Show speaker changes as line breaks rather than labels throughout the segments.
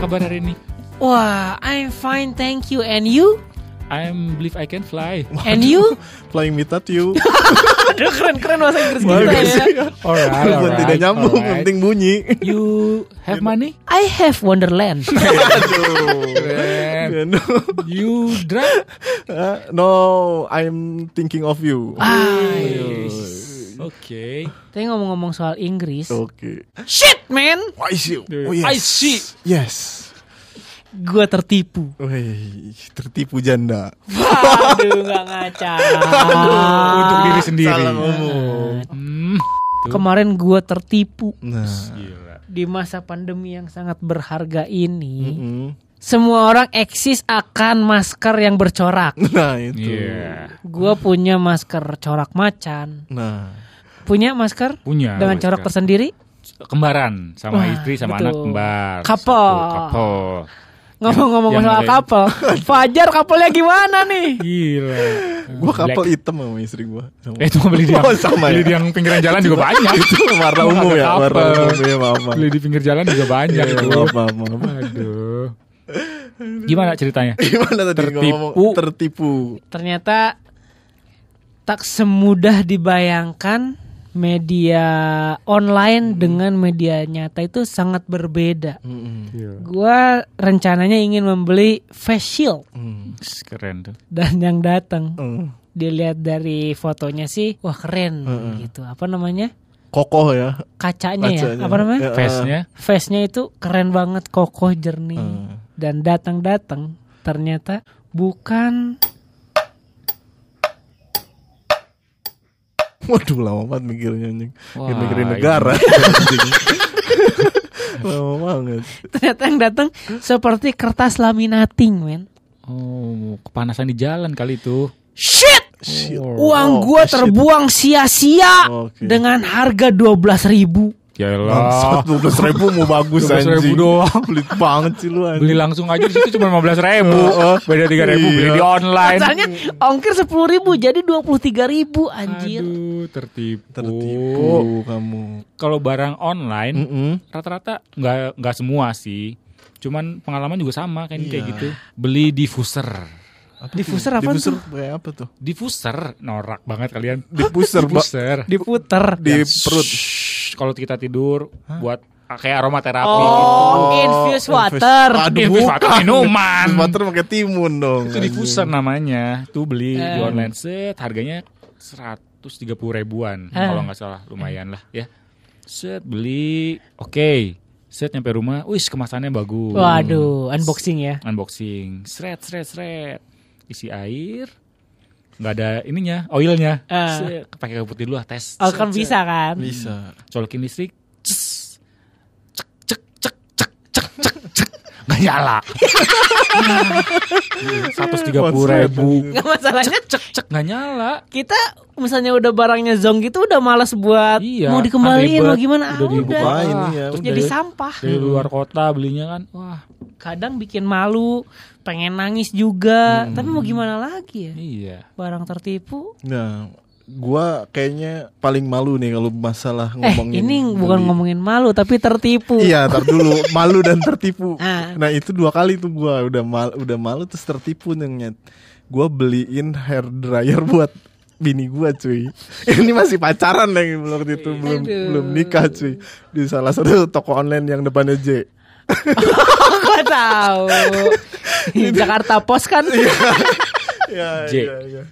kabar hari ini?
Wah, I'm fine, thank you. And you?
I am believe I can fly.
And you?
Playing me at you.
Gitu
Aduh, keren-keren bahasa Inggris
Bagus
kita ya.
ya.
Alright,
Walaupun tidak nyambung, yang
alright.
penting Gitu. bunyi.
You have money?
I have Wonderland.
Keren.
no,
You drive?
Uh, no, I'm thinking of you.
Ah. Oke.
Tapi ngomong-ngomong soal Inggris,
Oke.
shit man,
Why is you?
Dude,
Oh, yes.
I see.
Yes.
gua tertipu.
Wih, tertipu janda.
Aduh, nggak ngaca.
Ah. Untuk diri sendiri.
Salah ngomong.
Hmm.
Kemarin gua tertipu
Nah.
Gila.
di masa pandemi yang sangat berharga ini.
Mm.
Semua orang eksis akan masker yang bercorak.
Nah, itu.
Yeah.
Gua punya masker corak macan,
Nah.
punya masker
Punya.
dengan corak tersendiri.
Kembaran sama
Wah,
istri sama
betul.
anak kembar.
Couple.
Satu Couple.
Ngomong-ngomong
Yang- yang
soal
ada-
couple, Fajar couple-nya gimana nih?
Gila.
Gua kapal
Black.
hitam sama istri gua. Sama.
Eh, cuma beli di yang,
Oh, sama
beli
ya.
di yang pinggiran jalan juga banyak.
itu warna
Gua
umum
nggak
ya,
kapal.
warna umum ya, maaf. maaf.
beli di pinggir jalan juga banyak.
Iya,
itu.
maaf, maaf, maaf.
Aduh. Gimana ceritanya?
Gimana tadi
Tertipu.
ngomong? Tertipu.
ternyata tak semudah dibayangkan media
Hmm.
online dengan media nyata itu sangat berbeda.
Mm-mm.
Gua rencananya ingin membeli face shield
Mm.
Keren tuh.
dan yang datang
Mm.
dilihat dari fotonya sih wah keren
Hmm.
gitu. Apa namanya?
Kokoh ya.
Kacanya, ya.
Kacanya.
Apa namanya?
Ya.
Face-nya
Face-nya itu keren banget, kokoh, jernih.
Hmm.
Dan datang-datang ternyata bukan
Waduh lama banget mikirnya anjing.
Wah,
Mikir mikirin negara. anjing. lama banget.
ternyata yang datang seperti kertas laminating, men.
Oh, kepanasan di jalan kali itu.
Shit!
Shit.
Uang
Oh,
gua
shit.
terbuang sia-sia
Oke.
dengan harga 12.000 ribu.
Ya
Yaelah.
Bangsat 12 ribu mau bagus
12.000
anjing.
doang.
Pelit banget sih lu anjing.
Beli langsung aja di situ cuma 15 ribu.
Heeh.
Beda 3 ribu beli
Iya.
di online.
Asalnya ongkir 10.000 ribu jadi 23.000 ribu anjir.
Aduh, tertipu. Oh.
Tertipu kamu.
Kalau barang online
Mm-mm.
rata-rata nggak nggak semua sih. Cuman pengalaman juga sama kan kayak
Iya.
gitu. Beli diffuser.
Apa
Diffuser
tuh?
apa
Diffuser
tuh?
kayak apa tuh?
Diffuser norak banget kalian.
Diffuser, Pak.
Diffuser.
Diputer.
Di perut.
Shhh, Kalau kita tidur buat kayak aromaterapi gitu.
Oh, infused water.
Aduh,
Infused water
bukan.
minuman.
Infused water pakai timun dong.
Itu diffuser namanya. Tuh beli di
Eh.
online set harganya 130 ribuan
Eh.
kalau nggak salah lumayan lah ya. Set beli. Oke. Set nyampe rumah, wis kemasannya bagus.
Waduh, unboxing ya.
Unboxing. Sret sret sret. Isi air. nggak ada ininya, oilnya.
Eh.
Set, pakai kayu putih dulu lah tes.
Oh,
Set,
kan
set.
bisa kan?
Iya. Bisa.
Colokin listrik. Ces. Cek cek cek cek cek cek cek. Nggak nyala.
Iya.
130 ribu
Nggak masalahnya
cek cek nggak nyala
kita misalnya udah barangnya zonk itu udah malas buat
Iya,
mau dikembaliin
ribet.
mau gimana ah,
Udah
udah,
dibuka.
Bukain
Ah,
ya.
terus
jadi
Dari-
sampah.
dari luar kota belinya kan wah
Kadang bikin malu, pengen nangis juga,
Hmm.
tapi mau gimana lagi ya?
iya
Barang tertipu
Nah, gua kayaknya paling malu nih kalau masalah
Eh
ngomongin.
ini bukan
beli.
ngomongin malu tapi tertipu.
Iya, tar dulu malu dan tertipu.
Ah.
Nah, itu dua kali tuh gua udah mal udah malu terus tertipu nyet. Gua beliin hair dryer buat bini gua cuy. Ini masih pacaran yang waktu itu belum
Iya. Aduh.
belum nikah cuy. Di salah satu toko online yang depannya J.
Gua tahu. Di Jakarta Pos kan.
Iya. ya,
J.
ya, ya.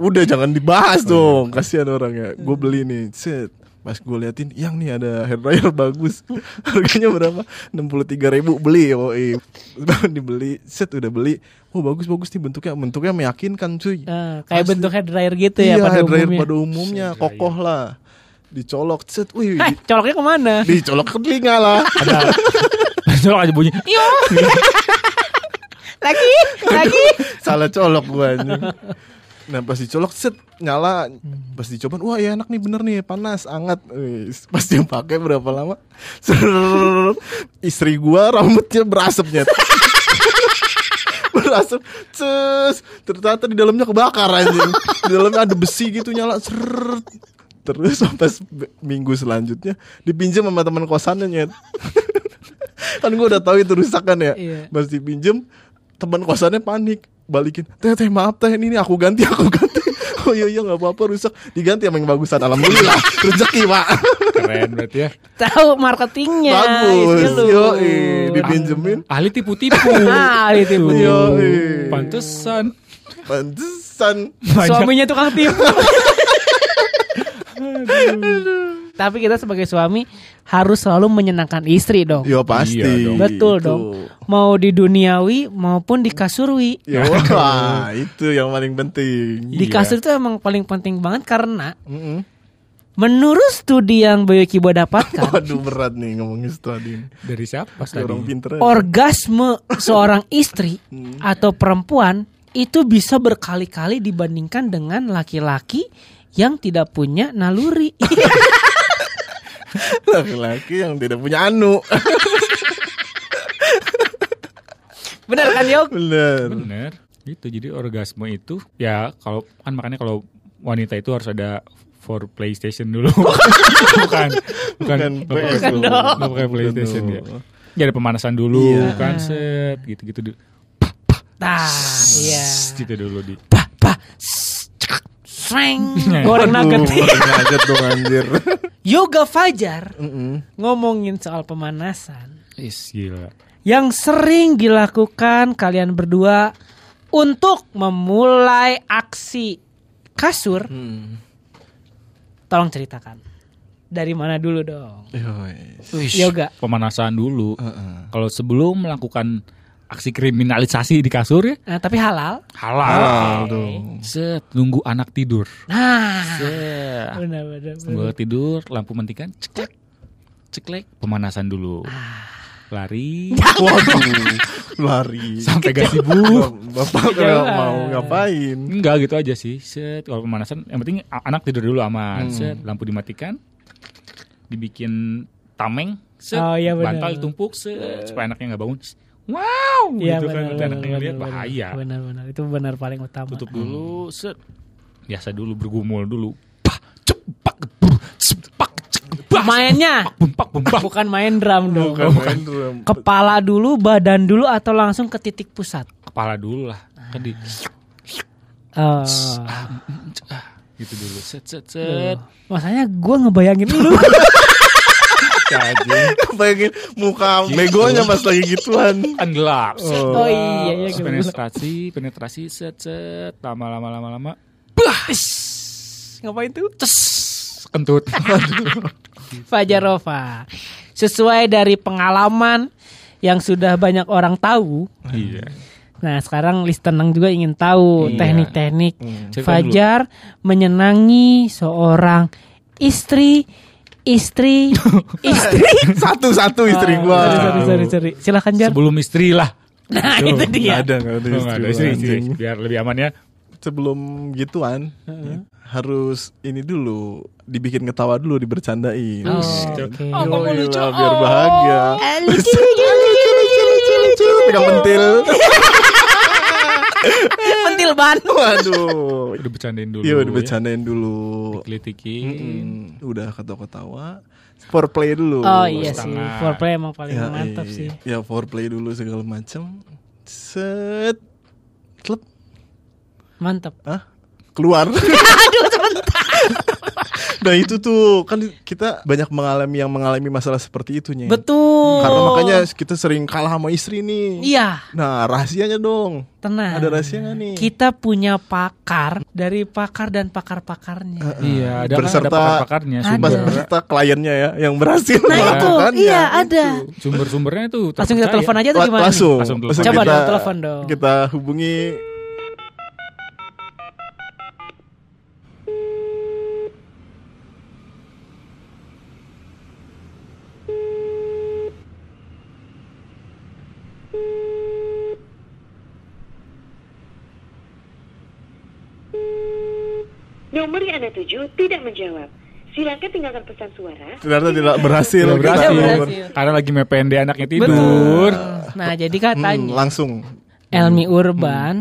Udah jangan dibahas dong, kasihan orangnya. Gue
Hmm.
beli nih, set. Pas gue liatin, yang nih ada hair dryer bagus. Harganya berapa? 63.000 beli, woi. Dibeli, set udah beli. Oh bagus bagus nih bentuknya, bentuknya meyakinkan cuy.
Eh, kayak
Asli.
bentuk hair dryer gitu ya
iya,
pada
hair dryer
umumnya.
pada umumnya, kokoh lah. Dicolok, set, wih.
Eh,
di-
coloknya kemana?
dicolok ke telinga lah.
ada colok aja bunyi
Yo. lagi, lagi.
Salah colok gue anjing. Nah pas dicolok set nyala Pas dicoba wah ya enak nih bener nih panas anget Wis, Pas dia pakai berapa lama serrrr, Istri gua rambutnya berasapnya Berasap Cus Ternyata di dalamnya kebakar anjing Di dalamnya ada besi gitu nyala serrrr. Terus sampai se- minggu selanjutnya Dipinjam sama teman kosannya nyet kan gue udah tahu itu rusakan ya
Iya.
pas dipinjem teman kosannya panik balikin teh teh maaf teh ini, ini aku ganti aku ganti oh iya iya nggak apa-apa rusak diganti sama yang bagusan alhamdulillah rezeki pak
Keren berarti ya.
Tahu marketingnya.
bagus
itu lu.
yoi dipinjemin
Ahli tipu-tipu.
Ah, ahli tipu.
Tuh,
Yoi.
Pantesan.
pantesan
Suaminya tukang tipu. Tapi kita sebagai suami harus selalu menyenangkan istri dong.
yo pasti
Iya dong.
Betul
Itu.
dong. Mau di duniawi maupun di kasurwi.
Ya wah, itu yang paling penting.
Di
Iya.
kasur itu emang paling penting banget karena
Mm-mm.
menurut studi yang Bayu Kibo dapatkan,
Waduh berat nih ngomongin study.
Dari siapa tadi?
Orang pinter.
orgasme seorang istri
Hmm.
atau perempuan itu bisa berkali-kali dibandingkan dengan laki-laki yang tidak punya naluri.
Laki-laki yang tidak punya anu.
Benar kan Yok?
Bener.
Bener. Itu jadi orgasme itu ya kalau kan makanya kalau wanita itu harus ada for PlayStation dulu. bukan. Bukan.
Bukan
nggak pakai-
PS dulu.
nggak pakai PlayStation ya. Ya ada pemanasan dulu
Iya.
kan set gitu-gitu dulu.
Nah, iya.
Gitu dulu di.
Pah, pah, s- cekak, sreng.
Iya.
Goreng
Aduh,
nugget.
goreng nugget dong anjir.
Yoga Fajar ngomongin soal pemanasan
Is gila.
yang sering dilakukan kalian berdua untuk memulai aksi kasur.
Hmm.
Tolong ceritakan. Dari mana dulu dong?
Iya,
Yoi.
Yoga.
Pemanasan dulu.
Heeh.
Kalau sebelum melakukan aksi kriminalisasi di kasur ya
Nah, tapi halal.
halal.
Oke.
Set nunggu anak tidur.
Nah,
Set.
benar benar.
Gue tidur, lampu mentikan, ceklek, ceklek, pemanasan dulu,
Ah.
lari,
Waduh, lari.
sampai gak sibuk.
Iya,
Bapak kalau mau ngapain?
Enggak gitu aja sih, set. Kalau pemanasan, yang penting a- anak tidur dulu
Hmm.
aman, set. Lampu dimatikan, dibikin tameng, set.
Oh, iya benar.
bantal ditumpuk, set. Supaya anaknya nggak bangun. Wow,
Iya
gitu
benar.
kan. Nanti
benar,
anaknya
benar,
lihat
benar.
bahaya.
Benar benar. Itu benar paling utama.
Tutup dulu, set. Biasa dulu bergumul dulu. Pah, cepak, bur, cepak, cekbas.
Mainnya
Bumpak, bumpak.
bukan main drum dong.
Bukan main drum.
Kepala dulu, badan dulu atau langsung ke titik pusat?
Kepala dulu lah. Kan di-
Eh,
gitu dulu set set
aduh.
set
Makanya gue Eh, ngebayangin lu.
Gitu cajing
Bayangin muka begonya pas lagi gituan.
kan gelap set
oh iya iya
Terus
gitu.
penetrasi penetrasi set set lama lama lama lama
Ngapain tuh?
tes kentut
Fajarova. Sesuai dari pengalaman yang sudah banyak orang tahu.
iya
Nah, sekarang listener juga ingin tahu
Iya.
teknik-teknik
Cerita
Fajar menyenangi seorang istri istri istri
Satu-satu istri gua.
sorry, sorry, sorry, sorry. Silakan Jar.
sebelum istri lah
Nah, itu dia.
Nggak ada, nggak ada
Oh, nggak ada istri,
istri,
istri.
anjing.
biar lebih aman ya
sebelum gituan harus ini dulu dibikin ketawa dulu dibercandain.
Oh,
Gitu.
oke.
Yoi lah, biar bahagia.
Oh, eh, lucu, lucu, lucu, lucu, lucu, lucu.
Pegang pentil.
Pentil ban.
Waduh.
udah bercandain dulu
Iya
ya.
udah bercandain dulu.
Dikelitikin.
Hmm, udah ketawa-ketawa. Foreplay dulu.
Oh iya sih,
tangan.
foreplay emang paling
Ya,
mantap sih.
Ya foreplay dulu segala macem. Set. Klep.
Mantap.
Hah? keluar. nah itu tuh kan kita banyak mengalami yang mengalami masalah seperti itu Nyeng.
Betul.
Karena makanya kita sering kalah sama istri nih.
Iya,
Nah rahasianya dong.
tenang.
Ada rahasia nggak nih?
Kita punya pakar dari pakar dan
Eh,
pakar-pakarnya.
iya ada kan,
Berserta-
ada pakarnya
Ada.
Pas
sumber
kita kliennya ya yang berhasil
Nah itu,
melakukannya.
iya ada.
sumber sumbernya tuh
Langsung kita telepon aja tuh
La-
gimana? nih?
langsung,
Langsung
langsung
telepon. Coba
kita,
dong, telepon dong.
Kita hubungi
Nomor yang Anda tuju tidak menjawab. Silakan tinggalkan pesan suara.
ternyata tidak berhasil.
Tidak
Kita
Iya, berhasil.
Iya, berhasil.
karena lagi mepen deh anaknya
Betul.
tidur
Nah, jadi
Hmm,
katanya
langsung.
Elmi Urban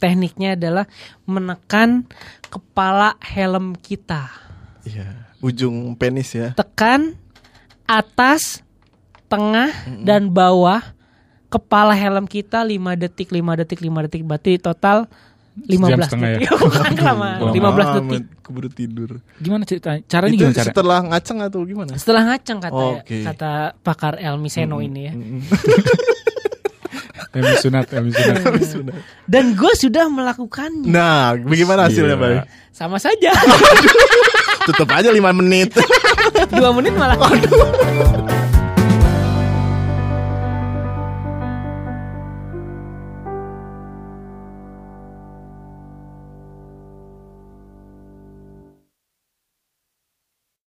tekniknya adalah menekan kepala helm kita.
Iya. Ujung penis ya.
Tekan atas tengah dan bawah kepala helm kita 5 detik 5 detik 5 detik berarti total 15
setengah
detik.
ya?
Bukan kelamaan,
Lama
15
Ah,
detik.
amat, keburu tidur.
Gimana ceritanya? Caranya
itu
gimana cara?
setelah ngaceng atau gimana?
Setelah ngaceng kata
Oke.
kata pakar Elmi Seno ini ya.
Emi sunat, emi sunat.
Habis sunat.
Dan gue sudah melakukannya.
Nah, bagaimana hasilnya,
Gila.
Bay?
Sama saja.
Tutup aja 5 menit.
Dua menit malah.
Aduh.